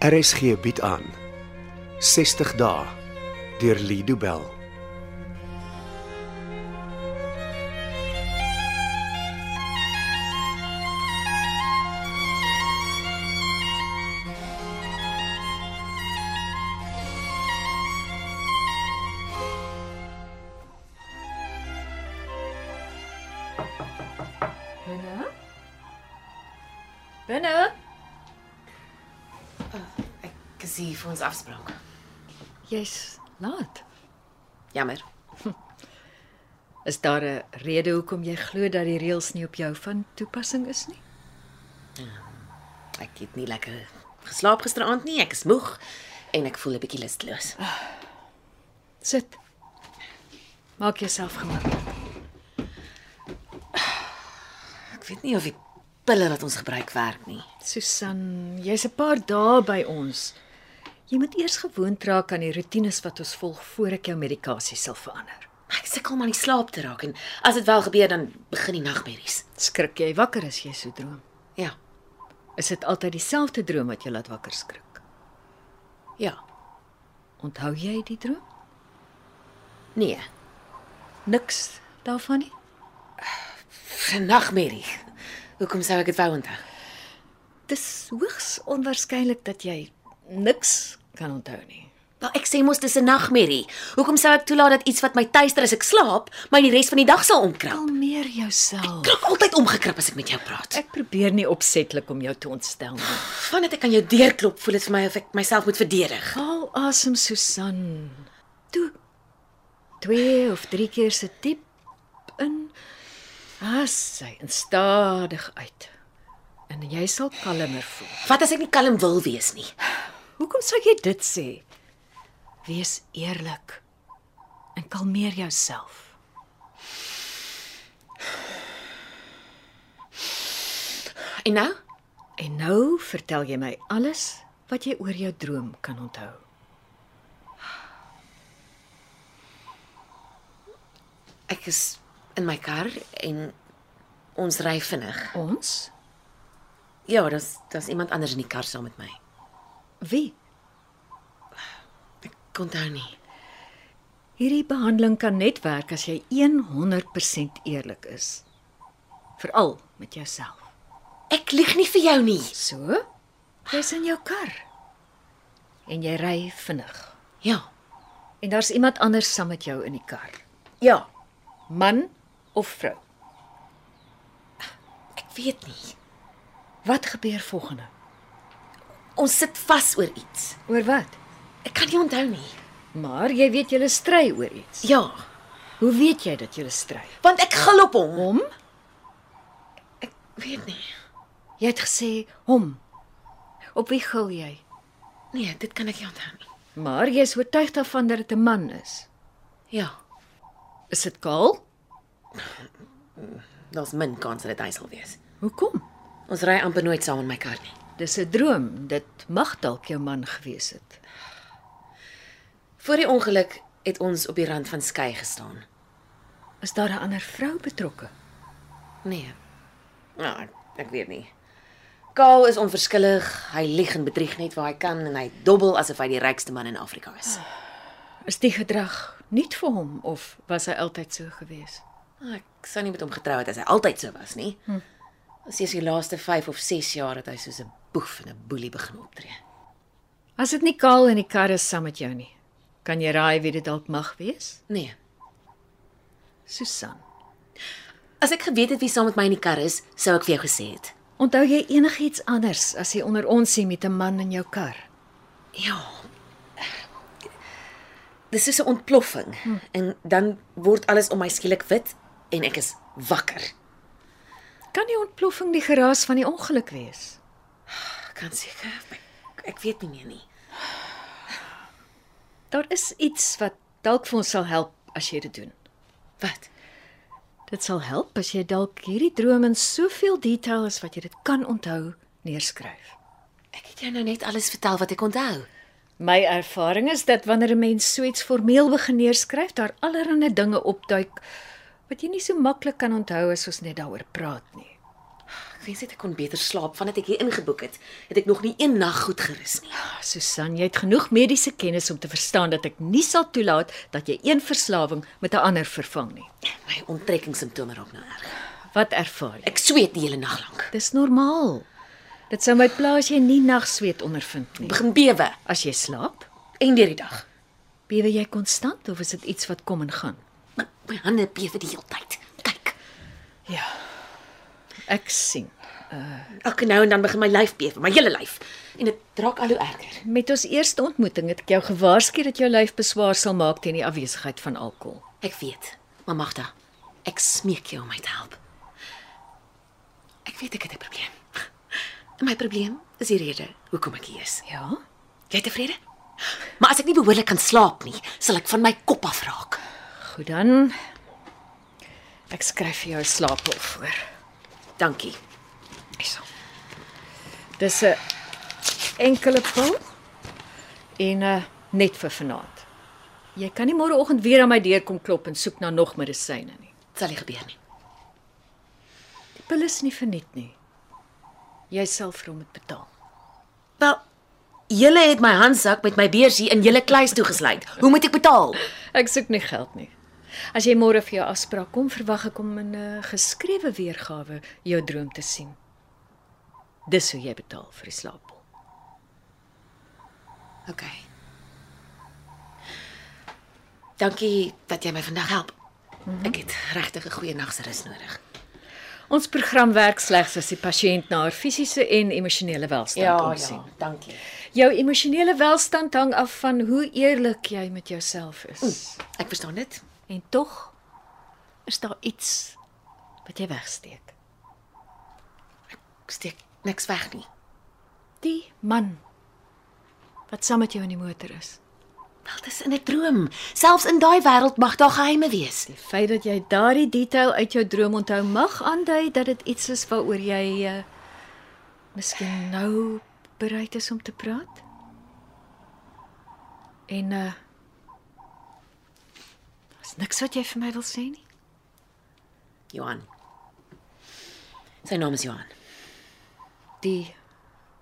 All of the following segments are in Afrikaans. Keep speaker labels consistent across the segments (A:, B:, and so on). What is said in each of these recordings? A: RSG bied aan 60 dae deur Lido Bell.
B: Binne? Binne?
C: Ek is hier vir ons afspraak.
B: Jy's laat.
C: Jammer.
B: Is daar 'n rede hoekom jy glo dat die reëls nie op jou van toepassing is nie?
C: Ek het nie lekker geslaap gisteraand nie. Ek is moeg en ek voel 'n bietjie lusteloos.
B: Sit. Maak jouself gemak.
C: Ek weet nie of die pille wat ons gebruik werk nie.
B: Susan, jy's 'n paar dae by ons. Jy moet eers gewoond raak aan die roetines wat ons volg voor ek jou medikasie sal verander.
C: Ek sukkel om aan die slaap te raak en as dit wel gebeur dan begin die nagmerries.
B: Skrik jy wakker as jy so droom?
C: Ja.
B: Is dit altyd dieselfde droom wat jou laat wakker skrik?
C: Ja.
B: Onthou jy die droom?
C: Nee.
B: Niks daarvan nie.
C: 'n Nagmerrie. Hoekom sou ek dit wou onthou?
B: Dis hoogs onwaarskynlik dat jy niks kan onthou nie.
C: Wel, ek sê mos dis 'n nagmerrie. Hoekom sou ek toelaat dat iets wat my tuister as ek slaap, my die res van die dag sal omkrap?
B: Kalmeer jouself.
C: Krap altyd omgekrap as ek met jou praat. Ek,
B: Ek probeer nie opsetlik om jou te ontstel nie.
C: vandat ek aan jou deurklop, voel dit vir my of ek myself moet verdedig.
B: Haal asem, Susan. Toe. Twee of drie keer se diep in. Hassy en stadig uit. En jy sal kalmer voel.
C: Wat as ek nie kalm wil wees nie?
B: Hoekom sou jy dit sê? Wees eerlik en kalmeer jouself.
C: En nou?
B: En nou vertel jy my alles wat jy oor jou droom kan onthou.
C: Ek is in my kar en ons ry vinnig.
B: Ons?
C: Ja, daar's daar's iemand anders in die kar saam met my.
B: Wie?
C: Ek onthou nie.
B: Hierdie behandeling kan net werk as jy 100% eerlik is. Veral met jouself.
C: Ek lieg nie vir jou nie.
B: So? Jy's in jou kar. En jy ry vinnig.
C: Ja.
B: En daar's iemand anders saam met jou in die kar.
C: Ja,
B: Man of vrou?
C: ek weet nie.
B: Wat gebeur volgende?
C: Ons sit vas oor iets.
B: Oor wat?
C: Ek kan nie onthou nie.
B: Maar jy weet julle stry oor iets.
C: Ja,
B: Hoe weet jy dat julle stry?
C: want ek gil op hom.
B: Hom?
C: Ek weet nie.
B: Jy het gesê hom. Op wie gil jy?
C: Nee, dit kan ek nie onthou nie.
B: Maar jy is oortuig daarvan dat dit 'n man is.
C: Ja,
B: Is dit kaal?
C: daar's min kans dat dit hy sal wees.
B: Hoekom?
C: Ons ry amper nooit saam in my kar nie.
B: Dis 'n droom. Dit mag dalk jou man gewees het.
C: Voor die ongeluk het ons op die rand van skei gestaan.
B: Is daar 'n ander vrou betrokke?
C: Nee. Ja, ek, ek weet nie. Kaal is onverskillig, hy lieg en bedrieg net waar hy kan en hy dobbel asof hy die rykste man in Afrika is.
B: Is die gedrag nuut vir hom of was hy altyd so gewees?
C: Ek sou nie met hom getrou het as hy altyd so was nie. Ons is die laaste 5 of 6 jaar dat hy soos 'n boef en 'n boelie begin optree.
B: As dit nie kaal in die kar is saam met jou nie, kan jy raai wie dit dalk mag wees?
C: Nee.
B: Susan.
C: As ek geweet het wie saam met my in die kar is, sou ek vir jou gesê het.
B: Onthou jy enigiets anders as jy onder ons sien met 'n man in jou kar?
C: Ja. Dis soos 'n ontploffing en dan word alles om my skielik wit en ek is wakker.
B: Kan die ontploffing die geraas van die ongeluk wees?
C: Ek kan seker ek, ek weet nie meer nie.
B: Daar is iets wat dalk vir ons sal help as jy dit doen.
C: Wat?
B: Dit sal help as jy dalk hierdie droom in soveel detail as wat jy dit kan onthou neerskryf.
C: Ek het jou nou net alles vertel wat ek onthou.
B: My ervaring is dat wanneer 'n mens so iets formeel begin neerskryf, daar allerlei dinge opduik wat jy nie so maklik kan onthou as ons net daaroor praat nie.
C: Ek wens net ek kon beter slaap vandat ek hier ingeboek het. Het ek nog nie een nag goed gerus nie.
B: Ah, Susan, jy het genoeg mediese kennis om te verstaan dat ek nie sal toelaat dat jy een verslawing met 'n ander vervang nie.
C: My onttrekkingssimptome raak nou erg.
B: Wat ervaar jy?
C: Ek sweet die hele nag lank.
B: Dis normaal. Dit sou my plaas jy nie nagsweet ondervind nie.
C: Ek begin bewe
B: As jy slaap,
C: en deur die dag.
B: bewe jy konstant of is dit iets wat kom en gaan?
C: My, my hande bewe die hele tyd. Kyk.
B: Ja. Ek sien.
C: Elke nou en dan begin my lyf bewe, my hele lyf. En dit raak al hoe erger.
B: Met ons eerste ontmoeting het ek jou gewaarsku dat jou lyf beswaar sal maak teen die afwesigheid van alkohol.
C: Ek weet. Maar Magda, ek smeek jou om my te help. Ek weet ek het 'n probleem. En my probleem is die rede hoekom ek hier is.
B: Ja?
C: Jy tevrede? Maar as ek nie behoorlik kan slaap nie, sal ek van my kop af raak.
B: Goed dan. Ek skryf vir jou 'n slaappil voor.
C: Dankie.
B: Hyso. Dis 'n enkele pil en uh, net vir vanaand. Jy kan nie môreoggend weer aan my deur kom klop en soek na nog medisyne nie.
C: Dit sal nie gebeur nie.
B: Die pil is nie verniet nie. Jy sal vir hom moet betaal.
C: Wel, julle het my handsak met my beursie in julle kluis toegesluit. Hoe moet ek betaal?
B: Ek soek nie geld nie. As jy môre vir jou afspraak kom, verwag ek om in 'n geskrewe weergawe jou droom te sien. Dis hoe jy betaal vir die slaappil.
C: OK. Dankie dat jy my vandag help. Ek het regtig 'n goeie nag se rus nodig.
B: Ons program werk slegs as die pasiënt na haar fisiese en emosionele welstand
C: Ja,
B: kom sien.
C: dankie.
B: Jou emosionele welstand hang af van hoe eerlik jy met jouself is.
C: Ek verstaan dit.
B: Mm. En tog is daar iets wat jy wegsteek.
C: Ek steek niks weg nie.
B: Die man wat saam met jou in die motor is.
C: Wel, dis in 'n droom. Selfs in daai wêreld mag daar geheime wees.
B: Die feit dat jy daardie detail uit jou droom onthou mag aandui dat dit iets is waaroor jy uh, miskien nou bereid is om te praat. En uh Daar's niks wat jy vir my wil sê nie.
C: Johan. Sy naam is Johan.
B: Die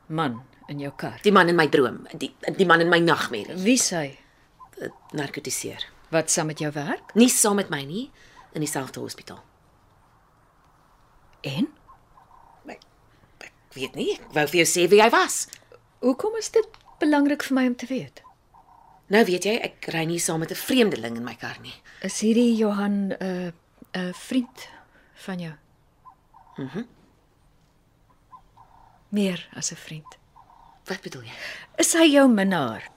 B: man in jou kar.
C: Die man in my droom, die die man in my nagmerrie.
B: Wie sy
C: Eh, Narkotiseer.
B: wat saam met jou werk?
C: Nie saam met my nie in dieselfde hospitaal.
B: En
C: Nee. Ek weet nie, ek wou vir jou sê wie hy was.
B: hoekom is dit belangrik vir my om te weet?
C: Nou weet jy, ek ry nie saam met 'n vreemdeling in my kar nie.
B: Is hierdie Johan 'n uh, 'n uh, vriend van jou? Mhm. Mm Mhm. Meer as 'n vriend.
C: Wat bedoel jy?
B: Is hy jou minnaar?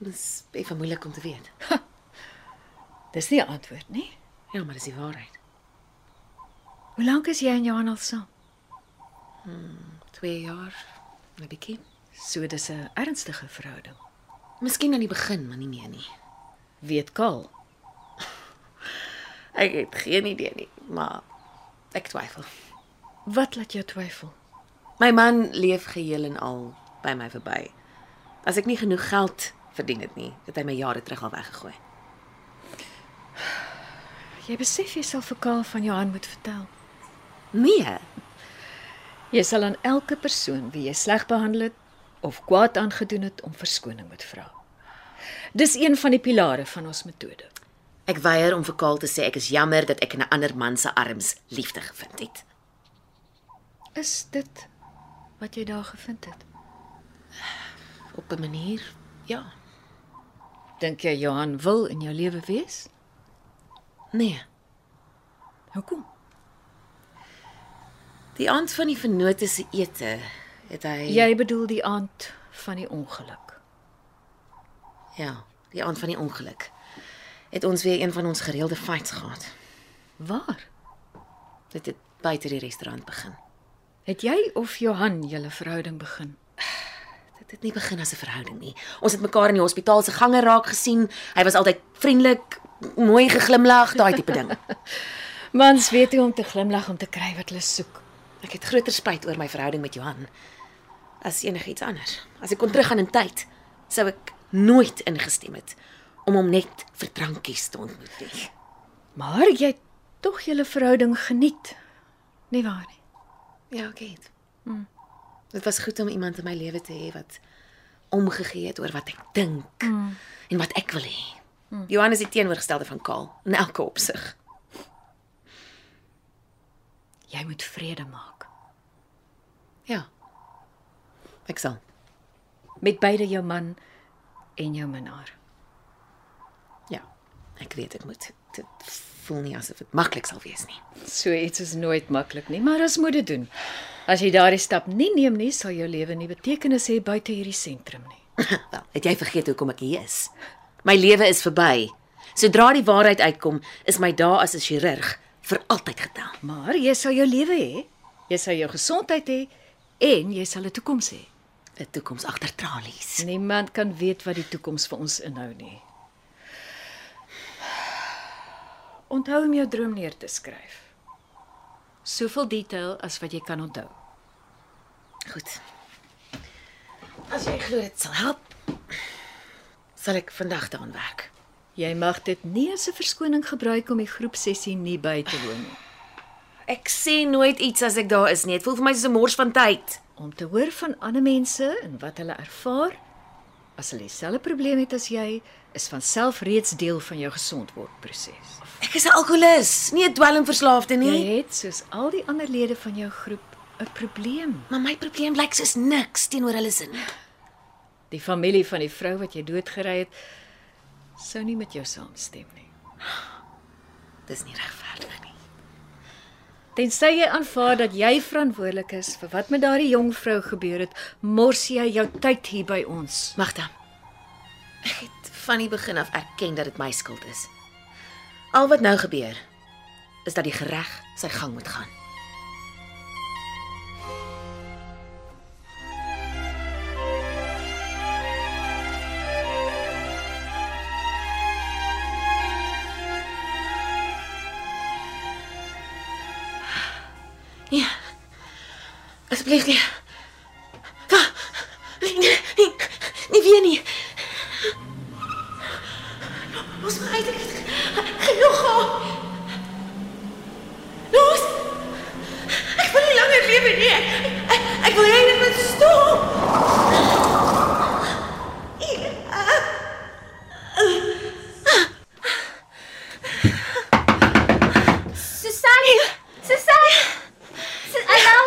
C: Dit is effe moeilik om te weet.
B: Dis nie 'n antwoord nie.
C: Ja, maar dis die waarheid.
B: Hoe lank is jy en Johan al saam?
C: 2 jaar, 'n bietjie.
B: So dis 'n ernstige verhouding.
C: Miskien aan die begin, maar nie meer nie.
B: Weet Kaal.
C: Ek het geen idee nie, maar ek twyfel.
B: Wat laat jou twyfel?
C: My man leef geheel en al by my verby. As ek nie genoeg geld verdien het nie, het hy my jare terug al weggegooi.
B: Jy besef jy sal vir Kaal van Johan moet vertel.
C: Nee,
B: Jy sal aan elke persoon wie jy sleg behandel het of kwaad aangedoen het om verskoning moet vra. Dis een van die pilare van ons metode.
C: ek weier om vir Kaal te sê ek is jammer dat ek in 'n ander man se arms liefde gevind het.
B: Is dit wat jy daar gevind het?
C: Op 'n manier, ja.
B: Dink jy Johan wil in jou lewe wees?
C: Nee.
B: Hoekom?
C: Die aand van die vennote se ete het hy
B: Jy bedoel die aand van die ongeluk.
C: ja, die aand van die ongeluk het ons weer een van ons gereelde fights gehad.
B: Waar?
C: Dit het buite die restaurant begin.
B: Het jy of Johan julle verhouding begin?
C: Dit het nie begin as 'n verhouding nie. Ons het mekaar in die hospitaal se gange raak gesien. Hy was altyd vriendelik, mooi geglimlag, daai tipe ding.
B: Mans weet hoe om te glimlag om te kry wat hulle soek.
C: Ek het groter spyt oor my verhouding met Johan as enigiets anders. As ek kon teruggaan in tyd, sou ek nooit ingestem het om hom net vir drankies te ontmoet nie.
B: Maar jy het tog julle verhouding geniet. Nie waar nie?
C: Ja, ek het. Mm. Dit was goed om iemand in my lewe te hê wat omgegee het oor wat ek dink mm. en wat ek wil hê. Mm. Johan is die teenoorgestelde van Kaal in elke opsig.
B: Jy moet vrede maak
C: Ja. Ek sal.
B: met beide jou man en jou minnaar.
C: Ja. Ek weet ek moet. Dit voel nie asof dit maklik sal wees nie.
B: So iets is nooit maklik nie, maar ons moet dit doen. As jy daardie stap nie neem nie, sal jou lewe nie betekenis hê buite hierdie sentrum nie.
C: Wel, het jy vergeet hoekom ek hier is? My lewe is verby. Sodra die waarheid uitkom, is my dae as 'n chirurg vir altyd getel.
B: Maar jy sal jou lewe hê. Jy sal jou gesondheid hê en jy sal 'n toekoms hê.
C: 'n Toekoms agter tralies.
B: Niemand kan weet wat die toekoms vir ons inhou nie. Onthou om jou droom neer te skryf. Soveel detail as wat jy kan onthou.
C: Goed. As jy glo dit sal help, sal ek vandag daaraan werk.
B: Jy mag dit nie as 'n verskoning gebruik om die groepsessie nie by te woon nie.
C: Ek sê nooit iets as ek daar is nie. Dit voel vir my soos 'n mors van tyd.
B: om te hoor van ander mense en wat hulle ervaar. As hulle dieselfde probleem het as jy, is van self reeds deel van jou gesondwordproses.
C: Ek is 'n alkolikus, nie 'n dwelmverslaafde nie.
B: Jy het soos al die ander lede van jou groep 'n probleem.
C: Maar my probleem lyk soos niks teenoor hulle sin.
B: Die familie van die vrou wat jy doodgery het, sou nie met jou saamstem nie.
C: Dis nie regverdig nie.
B: Tensy jy aanvaar dat jy verantwoordelik is vir wat met daardie jong vrou gebeur het, mors jy jou tyd hier by ons.
C: Magda. Ek het van die begin af erken dat dit my skuld is. Al wat nou gebeur is dat die gereg sy gang moet gaan. Ja. Asseblief nee. nie. Wa- Nee, nee, nee, nie weer nie. Ons moet uit. Ek het Genoeg gehad. Los. Ek wil nie langer lewe nie. Ek, ek, ek wil hê dit moet stop.
D: Susan! Susan! Su- Hallo!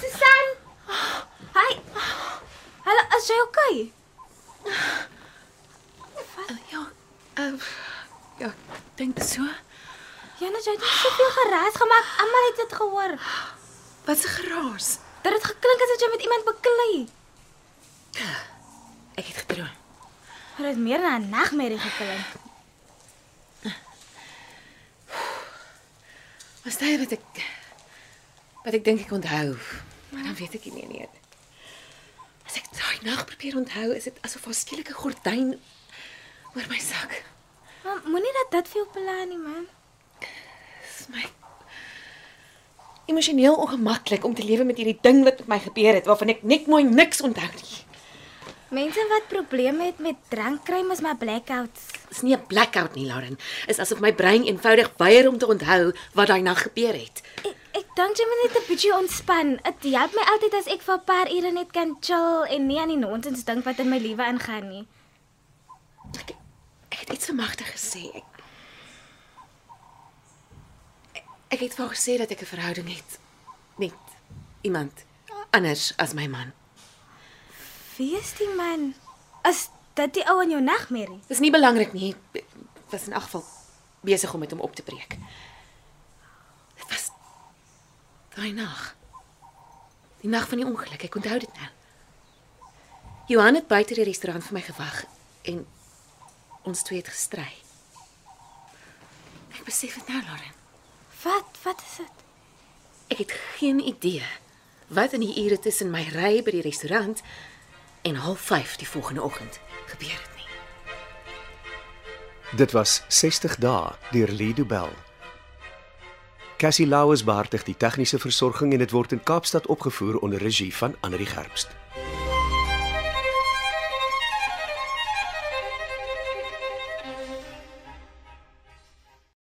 D: Susan! Hi! ah, Hallo, is jy okay?
C: Ja. Uh, ja, dink so.
D: Jana, jy het ons soveel geraas gemaak. Almal het dit gehoor.
C: Wat 'n geraas.
D: Dit het geklink asof jy met iemand beklei.
C: Ek het gedroom.
D: Dit het meer na 'n nagmerrie geklink.
C: Was dit wat ek wat ek dink ek onthou, maar dan weet ek nie meer nie. As ek daai nag probeer onthou, is dit asof daar skielik 'n gordyn oor my sak.
D: Maar moenie dat dit vir jou pla nie, man.
C: Dis my emosioneel ongemaklik om te lewe met hierdie ding wat met my gebeur het waarvan ek net mooi niks onthou nie.
D: Mense wat probleme het met drankkruim is maar blackouts.
C: Dis nie 'n blackout nie, Lauren. Is asof my brein eenvoudig weier om te onthou wat daai nag gebeur het.
D: Ek, ek dink jy moet net 'n bietjie ontspan. Dit help my altyd as ek vir 'n paar ure net kan chill en nie aan die nonsens dink wat in my lewe ingaan nie.
C: Ek, ek het iets vermagtig gesê. Ek, ek- ek het vir haar gesê dat ek 'n verhouding het met iemand anders as my man.
D: Wie is die man? Is dit die ou in jou nagmerrie?
C: Dis nie belangrik nie. Ek was in elk geval besig om met hom op te breek. Dit was daai nag. Die nag van die ongeluk. Ek onthou dit nou. Johan het buite die restaurant vir my gewag en ons twee het gestry. Ek besef dit nou, Lauren.
D: Wat wat is dit?
C: Ek het geen idee wat in die ure tussen my ry by die restaurant en 05:30 die volgende oggend gebeur het nie.
A: Dit was 60 dae deur Lido Bell. Cassie Lauers beheer die tegniese versorging en dit word in Kaapstad opgevoer onder regie van Anri Gerbst.